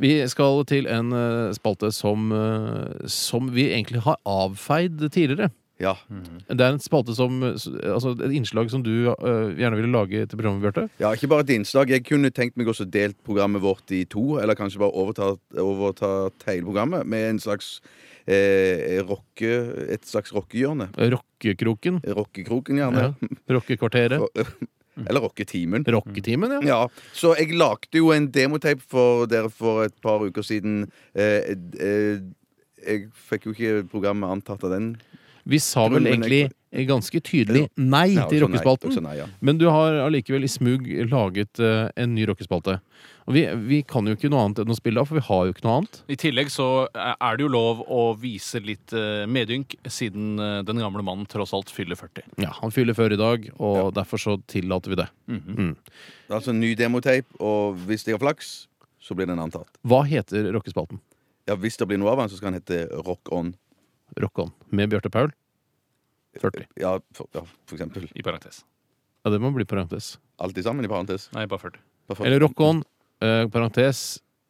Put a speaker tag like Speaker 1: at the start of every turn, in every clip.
Speaker 1: Vi skal til en eh, spalte som, eh, som vi egentlig har avfeid tidligere.
Speaker 2: Ja.
Speaker 1: Det er en spalte som, eh, s- altså et innslag som du eh, gjerne ville lage til programmet, Bjarte.
Speaker 2: ja, ikke bare et innslag. Jeg kunne tenkt meg også delt programmet vårt i to, eller kanskje bare overta, overtatt hele programmet med en slags eh, rocke, et slags rockehjørne.
Speaker 1: Rockekroken.
Speaker 2: Rockekroken, gjerne.
Speaker 1: Ja. Rockekvarteret.
Speaker 2: Eller rocketimen.
Speaker 1: Rocketimen, ja.
Speaker 2: Ja, så jeg lagde jo en demotape for dere for et par uker siden. Eh, eh, jeg fikk jo ikke programmet antatt av den.
Speaker 1: Vi sa vel egentlig ganske tydelig nei
Speaker 2: Ja,
Speaker 1: til
Speaker 2: også nei, også
Speaker 1: rockespalten.
Speaker 2: nei, ja.
Speaker 1: Men du har allikevel i smug laget eh, en ny rockespalte. Og vi, vi kan jo ikke noe annet enn å spille av, for vi har jo ikke noe annet.
Speaker 3: I tillegg så eh, er det jo lov å vise litt eh, medynk, siden eh, den gamle mannen tross alt fyller 40.
Speaker 1: Ja, Han fyller før i dag, og derfor så tillater vi det.
Speaker 2: Mhm.
Speaker 1: Mm.
Speaker 2: Det er altså en ny demotape, og hvis jeg har flaks, så blir den antatt.
Speaker 1: Hva heter rockespalten?
Speaker 2: Ja, Hvis det blir noe av den, så skal den hete Rock On.
Speaker 1: Rock On med Bjarte Paul? 40.
Speaker 2: Ja, for, ja, for eksempel.
Speaker 3: I parentes.
Speaker 1: Ja, det må bli parentes.
Speaker 2: Alltid sammen, i parentes.
Speaker 3: Nei, bare 40.
Speaker 2: Bare for-
Speaker 1: Eller Rock On, eh, parentes,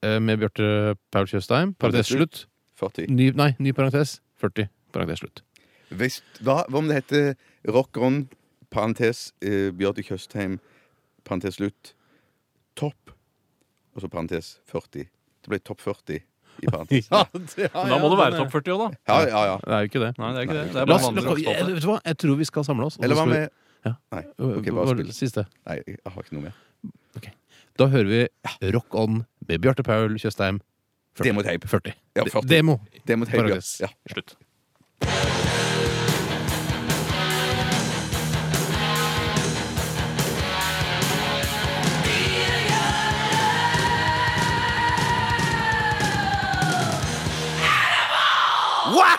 Speaker 1: eh, med Bjarte Paul Tjøstheim, parentes slutt.
Speaker 2: 40.
Speaker 1: Ny, nei, ny parentes. 40. Parentes slutt.
Speaker 2: Hvis, hva, hva om det heter Rock On, parentes eh, Bjarte Tjøstheim, parentes slutt, topp, og så parentes 40. Det ble topp 40 i parentes.
Speaker 3: Men Ah, da må det være topp 40 òg, da.
Speaker 2: Ja, ja, ja.
Speaker 1: Det er jo ikke det.
Speaker 3: Nei, det er ikke det. Det er
Speaker 1: La
Speaker 3: bare
Speaker 1: oss,
Speaker 3: vanlig
Speaker 1: la, jeg,
Speaker 3: rockespalte.
Speaker 1: eh, vet du hva? jeg tror vi skal samle oss. og så
Speaker 2: Eller hva
Speaker 1: skal vi-
Speaker 2: med
Speaker 1: Ja.
Speaker 2: Nei,
Speaker 1: Øh,
Speaker 2: ok,
Speaker 1: hva
Speaker 2: bare
Speaker 1: var det
Speaker 2: spill.
Speaker 1: Siste.
Speaker 2: Nei, jeg har ikke noe mer.
Speaker 1: Da hører vi Rock On med Bjarte Paul Tjøstheim. 40.
Speaker 2: Demotape.
Speaker 1: 40.
Speaker 2: Ja, 40.
Speaker 1: Demo.
Speaker 2: Demotape, ja.
Speaker 1: Parentes.
Speaker 2: ja.
Speaker 3: Slutt.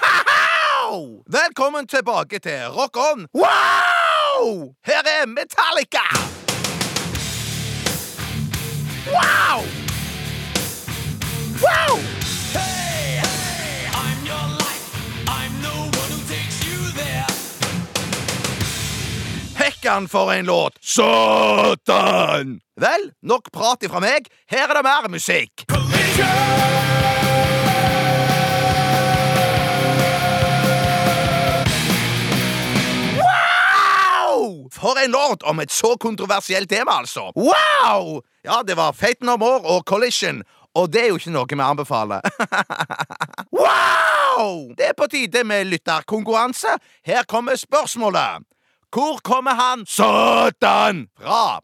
Speaker 2: Wow! Velkommen tilbake til Rock On. Wow! Her er Metallica! Wow! Wow! Hekkan for en låt! Satan! Vel, nok prat ifra meg. Her er det mer musikk. Wow! For en låt om et så kontroversielt tema, altså. Wow! Ja, det var Fate No More og Collision, og det er jo ikke noe vi anbefaler. wow! Det er på tide med lytterkonkurranse. Her kommer spørsmålet. Hvor kommer han Satan fra?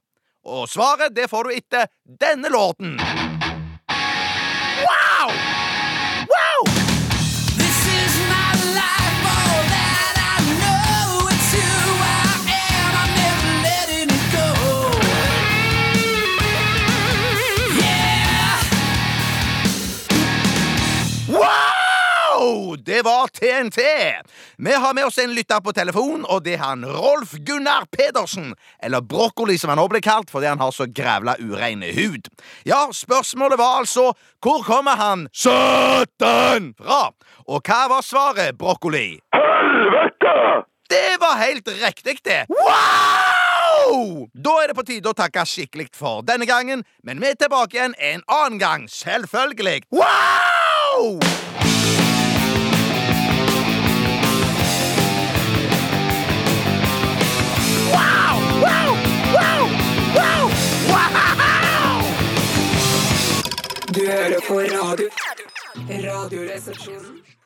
Speaker 2: Og svaret det får du etter denne låten. Wow! Wow!
Speaker 4: This is my life, all that I know. It's who I am. I'm never letting it go. Yeah.
Speaker 2: Wow! Det var TNT. Vi har med oss en lytter på telefon, og det er han Rolf Gunnar Pedersen. Eller Brokkoli, som han også ble kalt fordi han har så grævla urein hud. Ja, spørsmålet var altså hvor kommer han Satan fra? Og hva var svaret, Brokkoli? Det var helt riktig, det. Wow! Da er det på tide å takke skikkelig for denne gangen, men vi er tilbake igjen en annen gang, selvfølgelig. Wow! Wow! Wow! Wow! Wow! Wow!
Speaker 5: Du hører på radio. Radioresepsjonen.